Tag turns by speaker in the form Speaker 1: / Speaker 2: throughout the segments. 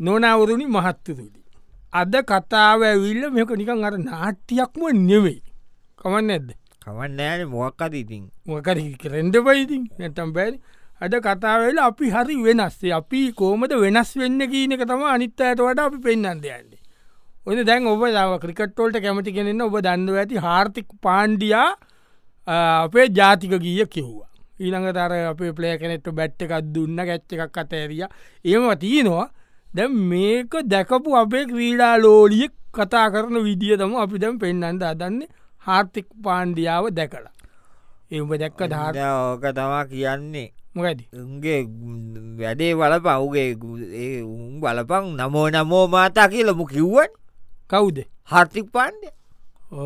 Speaker 1: නොනවරුණි මහත්තතුරි. අද කතාව ඇවිල්ල මේක නිකන් අර නාට්‍යයක්ම නෙවෙයි. කමන්න ඇද
Speaker 2: කවන්න ෑන මොක්කද ඉතින්
Speaker 1: මොකර කරෙන්ඩ පයිති නැතම් බැරි අද කතාවෙල අපි හරි වෙනස්සේ අපි කෝමද වෙනස් වෙන්න කියීනක තම අනිත් අයට වට අපි පෙන්න්නන්ද යන්නේ. ඔන්න දැන් ඔබ දාව ක්‍රිකට්ටෝල්ට කැමති කෙනෙන්න ඔබ දන්නව ඇති හාර්ථික පාණ්ඩියා අපේ ජාතික ගීය කිව්වා. ඊළඟ තර අපේ පලය කෙනෙට බැට් එකක් දුන්න ගැච්ච එකක් අතඇරිය ඒම තියෙනවා දැ මේක දැකපු අපේ ක්‍රීඩා ලෝලියෙක් කතා කරන විදිිය තම අපි දැම් පෙන්න්නන්ද අදන්නේ හාර්ථික පාණ්ඩියාව දැකලා එම දැක්ක ධාර
Speaker 2: ඕක තමා කියන්නේ
Speaker 1: මොකද
Speaker 2: උන්ගේ වැඩේ වලපව්ගේ උන් බලපං නමෝ නමෝ මාතා කියලමු කිව්වන්
Speaker 1: කවුද
Speaker 2: හර්තික් පන්්ඩ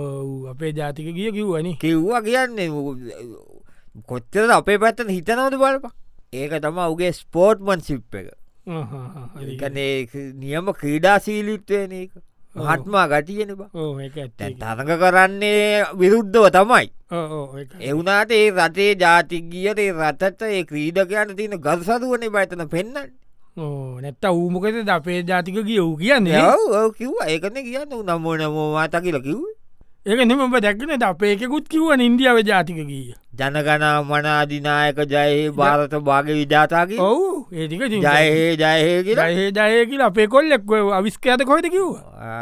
Speaker 1: ඔව් අපේ ජාතික ගිය කිව්වනි
Speaker 2: කිව්වා කියන්නේ කොච්චර අපේ පැත්තන හිතනවද බලප ඒක තම උගේ ස්පෝර්ට්මන් සිප් එක ඒකනේ නියම ක්‍රීඩා සීලිත්වයන එක මහත්මා ගටියෙන බ තරඟ කරන්නේ විරුද්ධව තමයි එවුනාට ඒ රටේ ජාතිගියට ඒ රටට ඒ ක්‍රීඩකයන්න තියෙන ගල් සතුවන බයතන පෙන්න්න
Speaker 1: නැත්ත ඌමකද අපේ ජාතික ගිය වූ කියන්න
Speaker 2: ඔව කිව් ඒකන කියන්න නම්මෝ නමෝවාතා කියල කිව්
Speaker 1: ඒක නිමම දැක්නට අපේකෙකුත් කිව්ව ඉන්දියාව ජාතික ගිය
Speaker 2: ජනගනා මනාධිනායක ජයහේ භාරත භාග විජාතාගේ
Speaker 1: ඔවු ඒටික
Speaker 2: ජයහේ ජයහේ කියලා
Speaker 1: ජයේ ජයකිල අපේ කොල්ලෙක් අවිස්කඇත කොයිද කිව්වා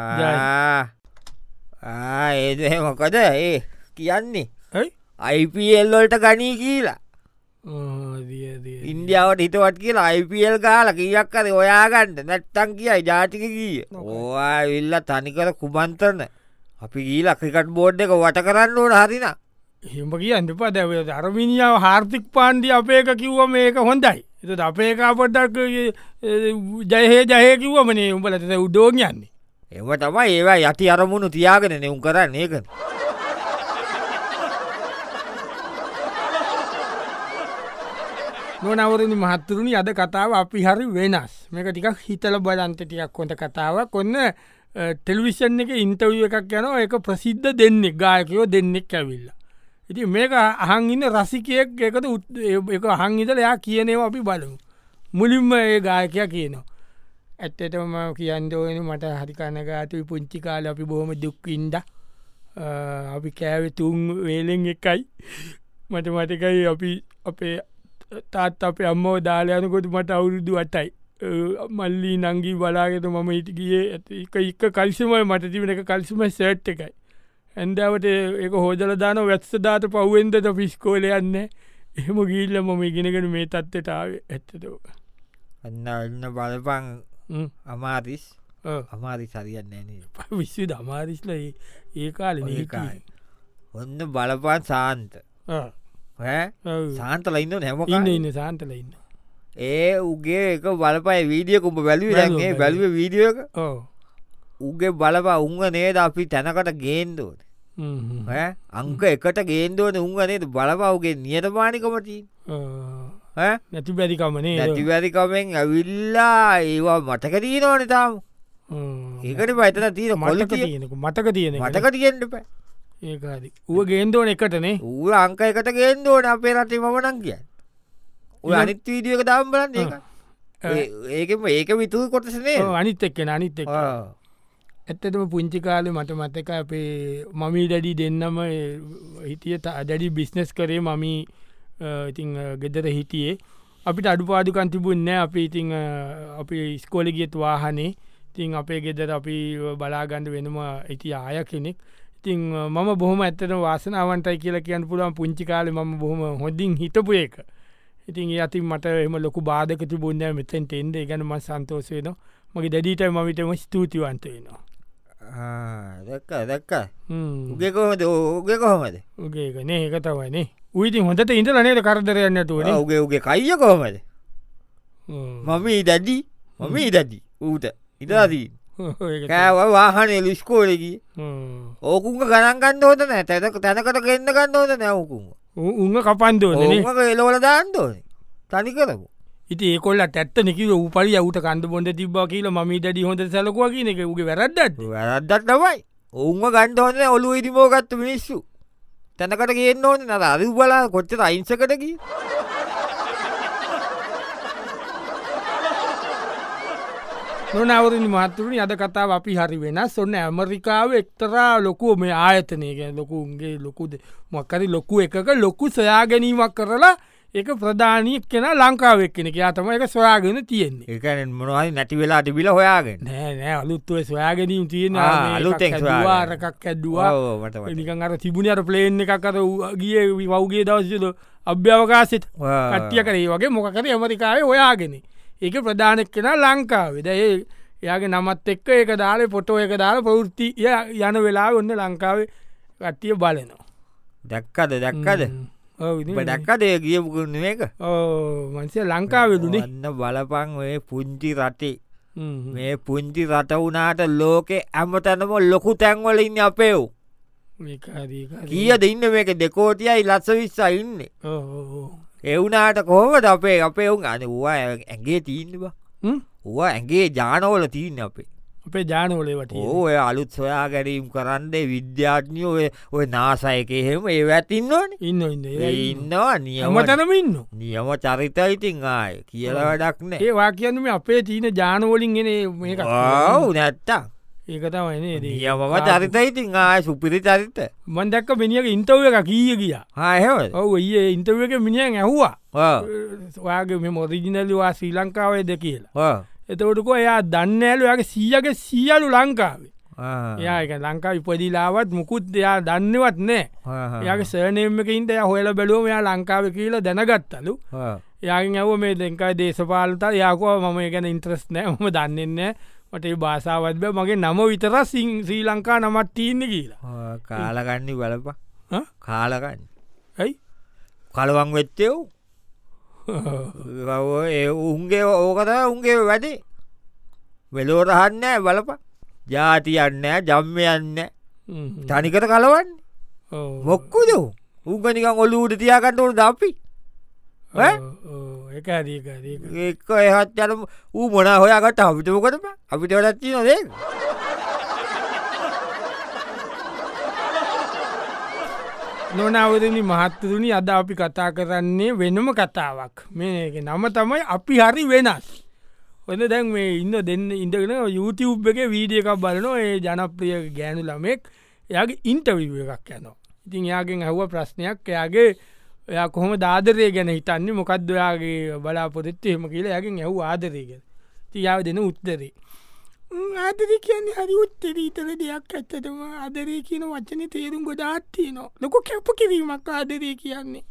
Speaker 2: ඒද මොකද ඒ කියන්නේ
Speaker 1: ඇයි
Speaker 2: අයිපල්ලොල්ට ගනී කියලා ඉන්දියාවට හිතවත් කියලා අයිපල් ගාල කියක්කද ඔයාගන්න නැත්තන් කියයි ජාතික ගිය ඕවා ඉල්ල තනිකර කුමන්තරන අපි ගීල ක්‍රිකට් බෝඩ් එක වට කරන්න ඕන හරින
Speaker 1: හෙම කියන්න ප දැව අරමිනිියාව හාර්ථික පාන්ඩි අපේක කිව්ව මේක හොඳයි එත අපේකාපොටක් ජයහේ ජය කිව්වමනේ උඹලට උඩෝන් යන්නේ
Speaker 2: එම තමයි ඒවා යති අරමුණු තියාගෙන නෙවුම් කරන්න ඒකන
Speaker 1: නොනවරනි මහත්තුරුණි අද කතාව අපි හරි වෙනස් මේක ටිකක් හිතල බලන්ත ටිකක් කොඳ කතාවක් ඔන්න ටෙලිවිෂන් එක ඉන්ටවිය එකක් යන එක ප්‍රසිද්ධ දෙන්නෙක් ගායකයෝ දෙන්නෙක් ඇවිල්ල. ඉති මේක අහන්ඉන්න රසිකයෙක් එකද උත්- ඒ- ඒක අහන්හිතල යා කියනව අපි බලමු. මුලින්ම ඒ ගායකය කියනවා. ඇත්තටම කියන්දෝන මට හරිකණගාතු පුංචි කාල අපි බොහොම දුක්කින්ද අපි කෑවේ තුන් වේලෙන් එකයි මට මටකයි අපි අපේ තාත් අපේ අම්මෝ දාලයනකොට මට අවුරුදු අටයි අ, මල්ලි නංගී බලාගෙත මම ඉටිගියේ ඇති එක එක කල්සිමයි මට තිබෙන එක කල්සිම සැට් එකයි ඇන්දාවට එක හෝදල දාන වැත්සදාට පව්ුවෙන්දට ෆිස්කෝල යන්න එහෙම ගිල්ල මම ඉගෙනගෙන මේ තත්ත්වටාව ඇත්තතෝ
Speaker 2: අන්න එන්න බලපං අමාරිස් අමාරි සරියන්න න
Speaker 1: විශ්ව දමාරිස්ල ඒ කාල
Speaker 2: ඔය කාලේ. ඔන්න බලපන් සාන්ත ඈ? සාන්තල ඉන්න නැම
Speaker 1: ඉන්න ඉන්න සාන්තල ඉන්න
Speaker 2: ඒ උගේ එක බලපයි වීඩිය කුඹ වැලුව දැන්ගේ
Speaker 1: බැලුවා,
Speaker 2: බැලුව වීඩියක
Speaker 1: ඕ
Speaker 2: උගේ බලපා උංග නේද අපි තැනකට ගේන්දෝන අංක එකට ගේන්දෝන උංග නේද බලපවගේ නියතමානිකමටී
Speaker 1: නැති බැරිකමනේ
Speaker 2: නැතිවැරිකමෙන් ඇවිල්ලා ඒවා මටක තිීනවන තාම ඒකට පයිතන තීර මොල්ල
Speaker 1: මටක තියෙනක මටක තියෙන
Speaker 2: මටක තියෙන්ට පැ
Speaker 1: ඒකාරි ඌ ගේන්දෝන එකටනේ
Speaker 2: ඌ අංක එකට ගේන්දෝන අපේ රටේ මමනං කියන්න ඔය අනිත් වීඩියක දාම් බලන්න ඒක. ඒ- ඒකෙම ඒක විතුූ කොටසනේ
Speaker 1: ඔව්, අනිත් එක්කෙන අනිත් එක්
Speaker 2: ආ.
Speaker 1: ඇත්තටම පුංචි කාලේ මට මතක අපේ මමී ඩැඩි දෙන්නම ඒ හිටිය තා- දැඩි බිස්නස් කරේ මමී අ, ඉතිං අ, ගෙදර හිටියේ අපිට අඩුපාදුකන් තිබුන්න අපි ඉතිං අ, අපි ඉස්කෝලි ගියත් වාහනේ ඉතිං අපේ ගෙදර අපි බලාගන්ඩ වෙනම ඇති ආය කෙනෙක් ඉතිං අ, මම බොහොම ඇත්තට වාසනාවන්ටයි කියලා කියන්න පුළුවන් පුංචි කාලේ මම බොහොම හොඳින් හිටපු එක ඉතින් ඒ අතින් මට එම ලොකු බාධක තිබුන්න මෙතැන් ටෙන්ඩ ගැනම සන්තෝසයනවා මගේ දැඩීට මවිටම ස්තුතිවන්තයනවා
Speaker 2: ආ, දැක්ක දැක්ක
Speaker 1: හ්ම්.
Speaker 2: උගේ කොහොමද උගේ කොහොමද
Speaker 1: උගේ ගන ඒක තවයිනේ උයිති හොඳට ඉඳලනයට කරදරයන්නටුවන
Speaker 2: උගේ උගේ කයිය කොහොමද මම ඉදදි මම ඉදදි ඌට ඉදාදී කෑව වාහනේ ලිස්කෝලකි ඕකුන්ග ගණන්ගන්න හෝද නෑ තැක තැනකට ගන්න ගන්න හෝද නැවකුම
Speaker 1: උන්න කපන්දෝන
Speaker 2: ඕක එලෝල දාන්තෝන තනි කරපු
Speaker 1: ඉති ඒකොල්ල ඇත්ත නික උපල අවට කන්ද බොඩ තිබ්බා කියල ම ඩඩි හොඳ සැලකවා කියන එක උගේ වැරද්දත්
Speaker 2: වැරද්දත් තමයි ඔවුන්ම ගණ්ඩෝන ඔලු ඉරිමෝගත්තු මිනිස්සු තැනකට ගන්න ඕන නර අරු බලා කොච්චර අයිංසකටකි
Speaker 1: නොනවරින් මහතුරින් අද කතාව අපි හරි වෙන සොන්න ඇමරිකාව එක්තරා ලොකුව මේ ආයතනය ගැන ලොකුන්ගේ ලොකුද මොක්කරි ලොකු එකක ලොකු සොයා ගැනීමක් කරලා ඒක ප්‍රධානීක් කෙන ලංකාවක් කෙනෙක අතම එක සොයාගෙන තියෙන්නේ
Speaker 2: ඒකන මොනහරි නැති වෙලා තිබිල හොයාගෙන
Speaker 1: නෑ නෑ අලුත්තුව සොයාගැනීම තියෙන
Speaker 2: ආ, අලුතෙන් සොයාගෙන.
Speaker 1: වාරකක් ඇද්දවා
Speaker 2: ඔව්, මට මතකයි.
Speaker 1: නිකන් අර තිබුණ අර ප්ලේන් එකක් අර ඌ ගිය වෞගේ දවසද අභ්‍යවකාසිත
Speaker 2: ආ.
Speaker 1: කට්ටිය කරේ වගේ මොකද ඇමරිකාවේ ඔයාගෙන ඒක ප්‍රධානක් කෙන ලංකාවේද ඒ එයාගේ නමත් එක්ක ඒක දාල පොටෝ එක දාල පවෘත්ති යන වෙලා ඔන්න ලංකාවේ කට්ටිය බලනවා
Speaker 2: දැක්කද දැක්කද
Speaker 1: ඔව් ඉතින්
Speaker 2: උඹ දැක්කද ඒ ගියපුකුන්න එක
Speaker 1: ඔව් මන්සේ ලංකාවෙදුනේ
Speaker 2: ඔන්න බලපං ඔය පුංචි රටේ මේ පුංචි රට වුනාට ලෝකෙ ඇමතනම ලොකු තැන්වල ඉන්න අපේව් කියද ඉන්න මේක දෙකෝතියයි ලස්ස විස්ස ඉන්න එවුනාට කොහොමද අපේ අපේ ඔුන් අන වා ඇගේ තීන්නවා වා ඇගේ ජානවල තිීන්න අපේ
Speaker 1: අපේ ජානෝලේවට
Speaker 2: ඕය අලුත් සොයා ගැරීම් කරන්නේ විද්‍යාඥය ඔය ඔය නාසයක එහෙම ඒ ඇතින්නවන
Speaker 1: ඉන්න ඉන්න
Speaker 2: ඉන්නවා නියම
Speaker 1: ඇමතනම ඉන්න
Speaker 2: නියම චරිත ඉතින් ආය කියල වැඩක් නෑ
Speaker 1: ඒවා කියන්න මේ අපේ තියන ජානෝලින් ගෙන මේක
Speaker 2: ඔව් නැත්තා
Speaker 1: ඒකතමයින
Speaker 2: නියමම චරිත ඉතින් ආය සුපිරි චරිත
Speaker 1: මන්දක්ක මිනිියක ඉන්ටව් එක කීය කියා
Speaker 2: හයහෙම
Speaker 1: ඔව ඒ ඉන්ටව එක මිනිියන් ඇහ්වා ඔයාගේ මෙ මොරිජිනල්වා ශ්‍රී ලංකාවේ ද කියලා එතකොටකො එයා දන්නෑලු යාගේ සීයගේ සියලු ලංකාවේ එයා එක ලංකා විපදිලාවත් මුකුත් එයා දන්නවත් නෑ යාගේ සනයමකින්ට එය හොල බැලුවම එයා ලංකාව කියලා දැනගත්තලු යාගෙන් ඇව මේ දෙංකා දේශපාලත යකෝ මම ඒ ගැන ඉන්ත්‍රස් නෑ හම දන්නෙන්න මට භාසාවත් බෑ මගේ නම විතර සිං ශ්‍රී ලංකා නමත් තියන්න කියලා
Speaker 2: කාලගන්න බලප
Speaker 1: හා?
Speaker 2: කාලගන්න
Speaker 1: ඇයි
Speaker 2: කලවන් වෙච්චෙව් ඒ උන්ගේ ඕකත උන්ගේ වැඩේ වෙලෝරහන්නෑ බලප ජාතියන්න ජම්මයන්න
Speaker 1: හ්ම්.
Speaker 2: තනිකට කලවන්න
Speaker 1: ඔව්.
Speaker 2: මොක්කුද උගනිකන් ඔලුට තියාකටවන දපි ඈ?
Speaker 1: ඔව්, ඔව්. ඒක හරි, ඒක හරි, ඒක හරි.
Speaker 2: එක්ක එහත් යන ඌ මොනා හොයාකට අපිටමකටම අපිට වැඩත්ති නොදේ
Speaker 1: නොනවරනි මහත්තතුනි අද අපි කතා කරන්නේ වෙනම කතාවක් මේක නම තමයි අපි හරි වෙනස් ඔන්න දැන් මේ ඉන්න දෙන්න ඉඳගෙන YouTube එක වීඩිය එකක් බලනො ඒ ජනප්‍රිය ගෑනු ළමෙක් එයාගේ ඉන්ටවිව එකක් යනවා ඉතින් එයාගෙන් ඇහුව ප්‍රශ්නයක් එයාගේ එයා කොහොම දාදරය ගැන හිතන්නේ මොකක්ද ඔයාගේ බලාපොරොත්තු එහෙම කියලා එයාගෙන් ඇහු ආදරය ගැන තියාව දෙන උත්තරේ ආදර කියන්නේ හරි උත්තර ඉතර දෙයක් ඇත්තටම ආදරය කියන වචන තේරුම් ගොඩාත්තිය නො ලොක කැප කිරීමක් ආදරය කියන්නේ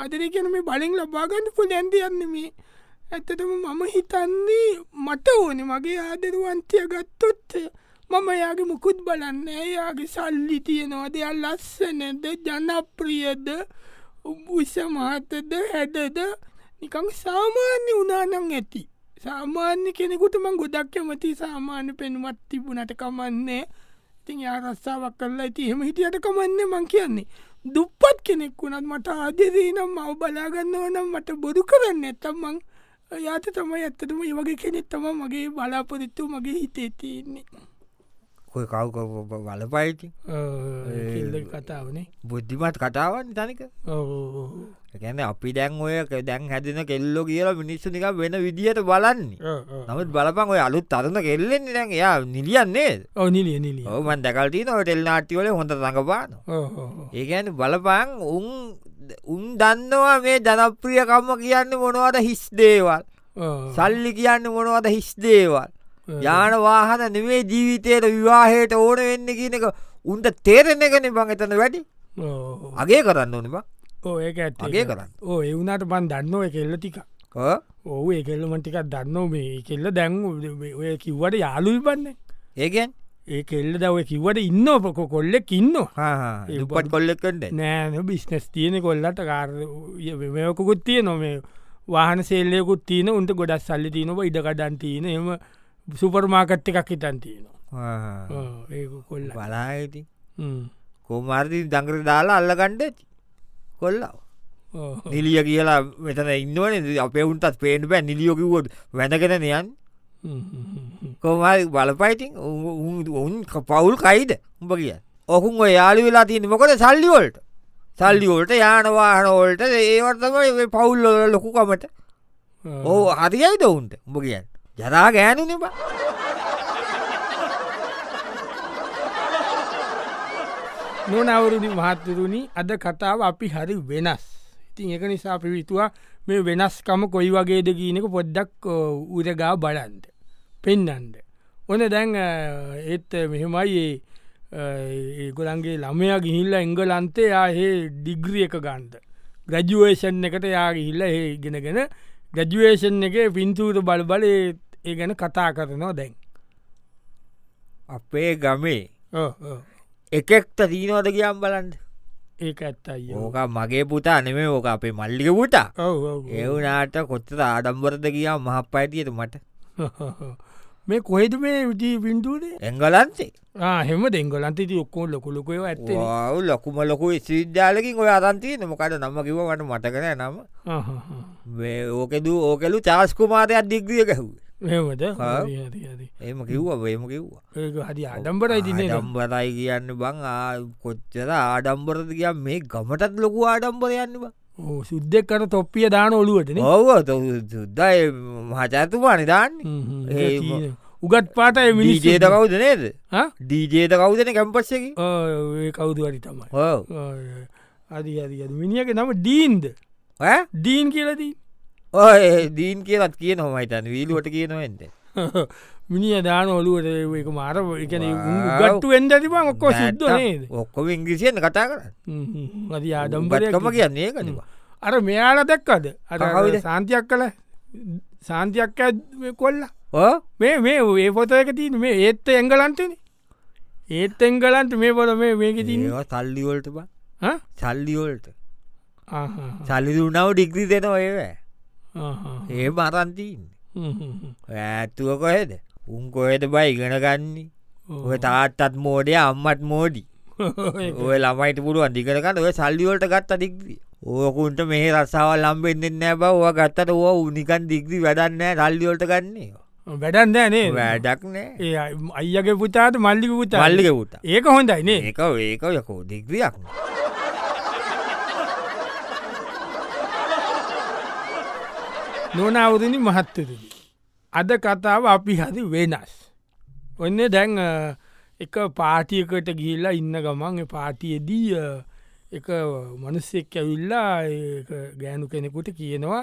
Speaker 1: ආදරය කියන මේ බලෙන් ලබාගන්න පුල ඇන්දයන්න මේ ඇත්තටම මම හිතන්නේ මට ඕන මගේ ආදරුවන්තය ගත්තොත් මම යාගේ මුකුත් බලන්න යාගේ සල්ලි තියෙනවා දෙයක් ලස්සනද ජනප්‍රියද උබුෂ මහතද හැඩද නිකං සාමාන්‍ය උනානං ඇති සාමාන්‍ය කෙනෙකුට මං ගොඩක් ඇමති සාමාන්‍ය පෙනුමත් තිබුණට කමන්නේ ඉතින් ආරස්සාාවක් කරලා ඇති එහෙම හිටියට කමන්නේ මං කියන්නේ දුප්පත් කෙනෙක් වුණත් මට ආදරී නම් මව බලාගන්නව නම් මට බොදු කරන්න ඇතම් මං යාත තමයි ඇත්තටම ඒ වගේ කෙනෙක් තම මගේ බලාපොරිත්තු මගේ හිතේ තියෙන්නේ
Speaker 2: කොයි කව්ක වලපයිති
Speaker 1: කිල්ල කතාවනේ
Speaker 2: බුද්ධිමත් කතාවන් තනික ගැන අපි දැන් ඔය ක- දැන් හැදෙන කෙල්ලො කියලා මිනිස්සු නික වෙන විදිහට බලන්නේ නමුත් බලපන් ඔය අලුත් අරන කෙල්ලෙන්නේ දැන් එයා නිලියන්නේ
Speaker 1: ඕනිලිය නිලිය
Speaker 2: ඔවමන් දැකල්ටී නො ටෙල්නාටිවල හොඳ රඟපාන ඒගැන බලපං උන් උන් දන්නවා මේ ජනප්‍රියකම්ම කියන්න මොනවද හිස් දේවල් සල්ලි කියන්න මොනවද හිස් දේවල් යාන වාහන නෙවේ ජීවිතයට විවාහයට ඕන වෙන්න කියනක උන්ට තේරෙන එකන බං එතන වැඩි අගේ කරන්න ඕන බං
Speaker 1: ඒක ඇත්
Speaker 2: අගේ කරන්න.
Speaker 1: ඕ එවුණට බන් දන්නව කෙල්ල ටික
Speaker 2: ඔව්.
Speaker 1: ඔහු ඒකෙල්ලම ටිකක් දන්න මේ කෙල්ල දැන් ඔය කිව්වට යාලුයි බන්න
Speaker 2: ඒකෙන්
Speaker 1: ඒ කෙල්ල දව කිව්වට ඉන්න පොකො කොල්ලෙක් ඉන්නවා ඒ
Speaker 2: උපත් කොල්ලෙක්කට
Speaker 1: නෑ බිස්නස් තියෙන කොල්ලට කාර්යකුකුත් තිය නොමේ වාහන සෙල්ලයකුත් තියන උන්ට ගොඩක් සල්ලි තියනව ඉඩකඩන් තියන එම සුපර්මාකට් එකක් හිතන් තියනවා ඒ කොල්ල
Speaker 2: බලායිති කෝමාර්දී දංගර දාලා අල්ලකණ්ඩ ඇති කොල්ලා නිලිය කියලා මෙතන ඉන්නවන අපේ උන්ටත් පේට බෑ නිලියෝකිවොඩ් වැඳගෙන නයන් කොමල් බලපයිතින් උන් ක- පවුල් කයිද උඹ කිය ඔකුන් ඔය යාලි වෙලා තියන මොකද සල්ලිවොල්ට සල්ලිවෝල්ට යානවාහනෝල්ට ඒවර්තම පවුල්ල ලොකුකමට ඕ හරියයි දවුන්ට උඹ කියන්න ජරා ගෑනු නෙබා
Speaker 1: නොනවුරුදි මහත්තුරුණි අද කතාව අපි හරි වෙනස් ඉතින් එක නිසා පිවිතුවා මේ වෙනස්කම කොයි වගේද කියීනක පොඩ්ඩක් උරගා බලන්ද පෙන්නන්ද ඕන දැන් ඒත් මෙහෙමයි ඒගොලන්ගේ ළමයා ගිහිල්ල එංගලන්තේ යාහේ ඩිග්‍රිය එක ගන්ද ග්‍රජුවේෂන් එකට යා ගිහිල්ල ඒ ගෙනගෙන ග්‍රජුවේෂන් එක පින්තූර බල බල ඒ ගැන කතා කරනවා දැන්
Speaker 2: අපේ ගමේ
Speaker 1: ඕ, ඕ.
Speaker 2: එකෙක්ට දීනෝද කියම් බලන්ට
Speaker 1: ඒක ඇත් අයි ඔව්
Speaker 2: ඕක මගේ පුතා නෙමේ ඕක අපේ මල්ලික පුතා
Speaker 1: ඔව්, ඔව්.
Speaker 2: ඒවනාට කොච්චර ආඩම්බරද කියා මහ පැතියට මට
Speaker 1: මේ කොහෙද මේ විජී පින්තුූරේ
Speaker 2: එංගලන්සේ
Speaker 1: හෙම දෙංගලන්ත ති ඔක්කෝ ලොකුලොකයෝ ඇත්තේ නේ.
Speaker 2: ඔව් ලොකුම ලොකු සිද්ධාලකින් ඔය අරන්තියන මොකට නම කිවවට මටකන නම
Speaker 1: ආ, හා, හා.
Speaker 2: මේ ඕකෙදූ ඕකෙලු චාස්කුමාරයක් දිග්‍රිය කැහුව
Speaker 1: මෙහෙමද
Speaker 2: ආ.
Speaker 1: හරි, හරි, හරි.
Speaker 2: ඒම කිව්ව වේම කිව්වා
Speaker 1: ඒක හරි අඩම්බරයි තිනේ
Speaker 2: ආඩම්බරයි කියන්න බං ආ කොච්චර ආඩම්බරද කිය මේ ගමටත් ලොකු ආඩම්බර යන්නවා
Speaker 1: සුද්දෙක් කර තොප්පිය දාන ඔලුවටන
Speaker 2: ඔව සුද්දයි මහචාතුමා නිදාන්න ඒ
Speaker 1: උගත් පාටය
Speaker 2: ජේත කවුද නේද ඩීජේත කවුදන කැම්පස්සකි
Speaker 1: කවුතු වරි තමයි
Speaker 2: ඕ
Speaker 1: අදි අදි මිනිියක නම ඩීන්ද ඩීන් කියලදී
Speaker 2: ඔය දීන් කියලත් කිය නොමයිතන් වීලුවට කියනවෙන්ද
Speaker 1: මිනිිය දාන ඔලුවට ඒක මාර එකන
Speaker 2: වාව්.
Speaker 1: ගට්ටු වෙන්ඩ තිබන් ඔක්කෝ සිද්ධ නේද
Speaker 2: ඔක්කොම ඉංග්‍රිසියෙන් කතා කරන්න
Speaker 1: අද
Speaker 2: ගත්කම
Speaker 1: ආඩම්බරකම
Speaker 2: කියන්නේ කනවා
Speaker 1: අර මෙයාල දැක්කද අර
Speaker 2: කවුද?
Speaker 1: සාන්තියක් කළ සාන්තියක් කොල්ලා
Speaker 2: ඕ
Speaker 1: මේ මේ ඒ පොත එක තියන මේ ඒත්ත එංගලන්තන ඒත් එංගලන්ට මේ පොල මේ මේක තින්න
Speaker 2: ඒවා සල්ලිවොල්ට බ සල්ලිවොල්ට
Speaker 1: ආ
Speaker 2: සල්ලිදුනාව ඩිග්‍රි දෙන ඔයව ඒ මරන්තීන්න ඇත්තුව කොහෙද උන් කොහෙද බයි ඉගෙනගන්නේ ඔය තාත්තත් මෝඩය අම්මත් මෝඩි ඔය ළමයිට පුළුවන් දිගරකන්න ඔය සල්ලිවලට ගත් අඩික්දී ඕකුන්ට මේ රස්සාවල් ලම්බෙන්න්නෑ බව ඕ ගත්තට ඕ උනිකන් දිග්‍රී වැඩන්නෑ රල්ලිවලට ගන්නේ
Speaker 1: වැඩන් දෑනේ
Speaker 2: වැඩක් නෑ
Speaker 1: ඒ අයි- අයියගේ පුතාට මල්ලික පුතා
Speaker 2: පල්ලික පුට
Speaker 1: ඒක හොඳයි නේ
Speaker 2: ඒක ඒක යකෝ දිග්‍රියක්
Speaker 1: නොනවරණ මහත්තතුද. අද කතාව අපි හරි වෙනස්. ඔන්න දැන් අ, එක පාටියකට ගිල්ලා ඉන්න ගමන් ඒ පාටියදී අ, එක මනුස්සෙක් ඇවිල්ලා ඒක ගෑනු කෙනෙකුට කියනවා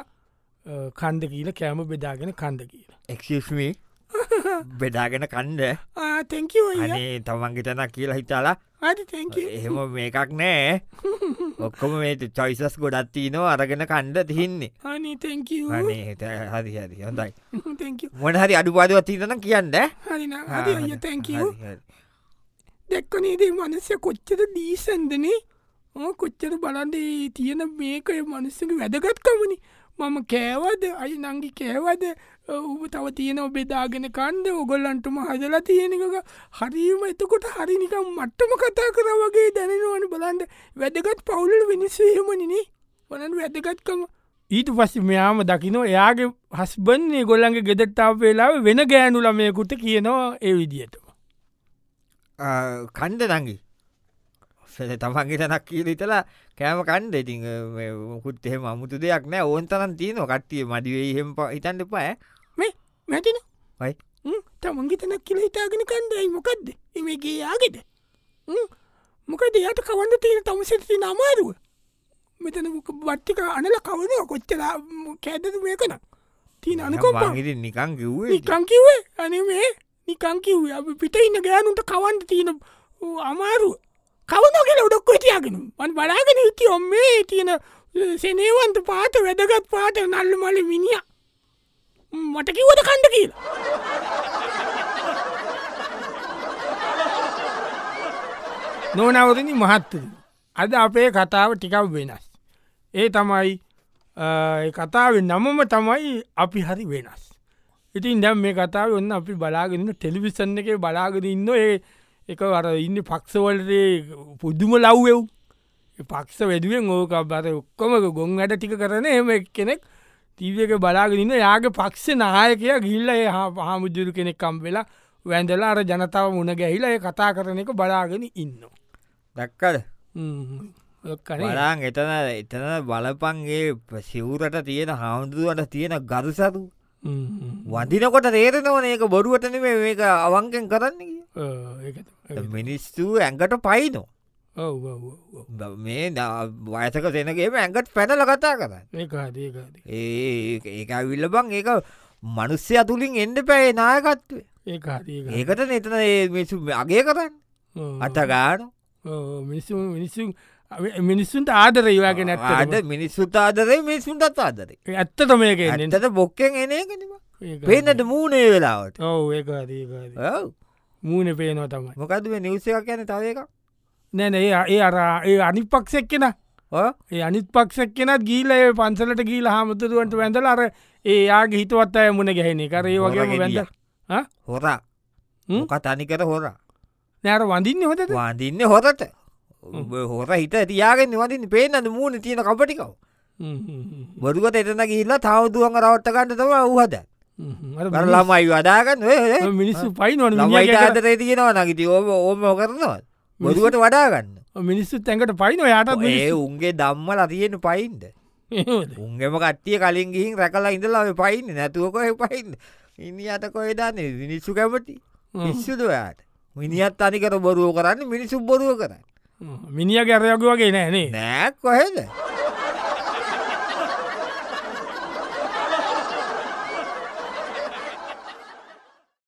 Speaker 1: අ, කන්ද කියල කෑම බෙදාගෙන කන්ද කියලා.
Speaker 2: එක්ෂමි බෙදාගෙන කණ්ඩ
Speaker 1: තැක
Speaker 2: අනේ තමන්ගේ තැන කියලා හිතාලා එහෙම මේකක් නෑ ඔක්කොම මේ චොයිසස් ගොඩත්ති නෝ අරගෙන කණ්ඩ තිහින්නේ
Speaker 1: තැක
Speaker 2: අනේ හිත- හරි හරි හොඳයි මොන හරි අඩුපාදුව තිීතන කියන්න ඈ.
Speaker 1: හරි තැක
Speaker 2: හරි, හරි.
Speaker 1: දැක්කනේදේ මනසය කොච්චර දීසන්දනේ ඕ කොච්චර බලන්දේ තියෙන මේකය මනුස්සක වැදගත්කමනි මම කෑවද අයි නංගි කෑවද ඔබ තව තියෙන බෙදාගෙන කන්ද ඔගොල්ලන්ටම හදලා තියෙනක හරීම එතකොට හරිනිකම් මට්ටම කතා කර වගේ දැනෙනවන බලන්ට වැදගත් පවුලට මිනිස්සේමනිනේ වලන් වැදගත්කම ඊට පස්ස මෙයාම දකිනෝ එයාගේ හස්බන්නේ ගොල්ලන්ගේ ගෙදට්ටාව වෙලාව වෙන ගෑනුලමයකුට කියනවා ඒ විදිහටම
Speaker 2: ආ, කණ්ඩ නඟි සෙ තමන්ගේ තැනක් කියල ඉතලා කෑම කණ්ඩ ඉති කුත් එහෙම අමුතු දෙයක් නෑ ඕන් තරන් තියන කට්ටිය මඩිවේ හෙම හිතන්න එපා
Speaker 1: මේ මැතින
Speaker 2: වයි.
Speaker 1: තමන්ගේ තැනක් කියල හිතාගෙන කන්දයි මොකක්ද එමගේ යාගෙද මොකද එයාට කවන්න තියෙන තමසති නමාරුව මෙතන මොක බට්ටික අනල කවන කොච්චලා කෑදද මේකන තියන අනකොම්පා
Speaker 2: මංගිට නිකං කිව්වේ
Speaker 1: නිකං කිවේ අනේ මේ නිකං කිව්ේ අප පිට ඉන්න ගෑනුන්ට කවන්ට තියෙන අමාරුව කවනගෙන උඩක්කො තියාගෙන වන් බලාගෙන හිති ඔම්මේ තියෙන සෙනේවන්ත පාත වැදගත් පාට නල්ල මල මිනිිය මට කිව්වද කණ්ඩ කියලා නොනවරණ මහත්තර අද අපේ කතාව ටිකක් වෙනස් ඒ තමයි කතාව නමම තමයි අපි හරි වෙනස් ඉතින් දැම් මේ කතාව ඔන්න අපි බලාගෙනන්න ටෙලිවිසන් එක බලාගෙන ඉන්න ඒ එක වර ඉන්න පක්ෂවලටේ පුදුම ලව්වෙව් ඒ පක්ෂ වැඩුවෙන් ඕක බර ඔක්කොම ගොන් වැඩ ටික කරන එම එක් කෙනෙක් තීවක බලාගෙනන්න යාගේ පක්ෂ නායකය ගිල්ල හා පහමුදුරු කෙනෙක්කම් වෙලා වැඳලා අර ජනතාව මුණ ගැහිලා ඒ කතා කරන එක බලාගෙන ඉන්න
Speaker 2: දක්කද
Speaker 1: කන
Speaker 2: බලාන් එතන එතන බලපන්ගේ සිවුරට තියෙන හාමුදුරුවට තියෙන ගරුසතු වදිනකොට තේරෙනවන ඒක බොරුවටන මේක අවංකෙන් කරන්න කිය. මිනිස්සු ඇඟට පයිනෝ මේ නා- වයසක සෙනගේම ඇඟට පැනල කතා කරන්න
Speaker 1: ඒකාදේකාද
Speaker 2: ඒ ඒක ඇවිල්ල බං ඒක මනුස්්‍ය අතුලින් එන්ඩ පැේ නායකත්වේ
Speaker 1: ඒකාදේ
Speaker 2: ඒකට නතන මිසු අගේ කරන්න අතගාන
Speaker 1: මිනිස්සු මිනිස්සුන් මිනිස්සුන්ට ආදරයවාගේ
Speaker 2: අද
Speaker 1: නැත්ට
Speaker 2: මිනිස්සුත් ආදරේ මිනිසුන්ටත් ආදරේ
Speaker 1: ඇත්ත තොමයක
Speaker 2: ඇතට බොක්කෙන් එනකනම පේනට මූනේ වෙලාවට
Speaker 1: ඔව ඒකාදේකාද
Speaker 2: ඔව්.
Speaker 1: මූුණ පේනවා තමයි
Speaker 2: මොකද මේ නිවස එකක් යන තව එකක්
Speaker 1: නැන ඒ ඒ අරා ඒ අනිත් පක්ෂක් කෙන
Speaker 2: ඔව්.
Speaker 1: ඒ අනිත් පක්ෂක් කෙනත් ගීල ඒ පන්සලට ගීල හාමුතුරුවන්ට වැඳල අර ඒයාගේ හිතවත් අය මුණ ගැහෙන කරේ වගේ
Speaker 2: හොර
Speaker 1: වැඳ
Speaker 2: ගෙඩියක්. හොරා
Speaker 1: හ්ම්?
Speaker 2: මොක තනිකර හොරා
Speaker 1: නෑර වඳින්න හොද
Speaker 2: වාදින්න හොරට ඔබ හොර හිත තියාගෙන වදින් පේනද මූුණ තියෙන කපටිකව බොරුවට එතන ගිල්ලා තවදුවන් රවට්ට ගන්න තම වහද ළමයි වදාගන්න
Speaker 1: මිනිස්සු පයි නොන
Speaker 2: ළමයි ආදරේ තියෙනවා නගිති ඕම ඕම කරනවා බොරුවට වඩාගන්න
Speaker 1: මිනිස්සු තැන්කට පයින යාට
Speaker 2: ඒ උන්ගේ දම්මල තියෙන පයින්ද උන්ගේම කට්ටිය කලින් ගිහින් රැකලා ඉඳලාව පයින්න නැතුවකොය පයින්න ඉනි අත කොයදන්න මිනිස්සු කැමති විශ්සුදයාට මිනිියත් අනිකර බොරුව කරන්න මිනිසු බොරුව කරන්න
Speaker 1: මිනිිය ගැරයක වගේ නෑනේ
Speaker 2: නෑ කොහෙද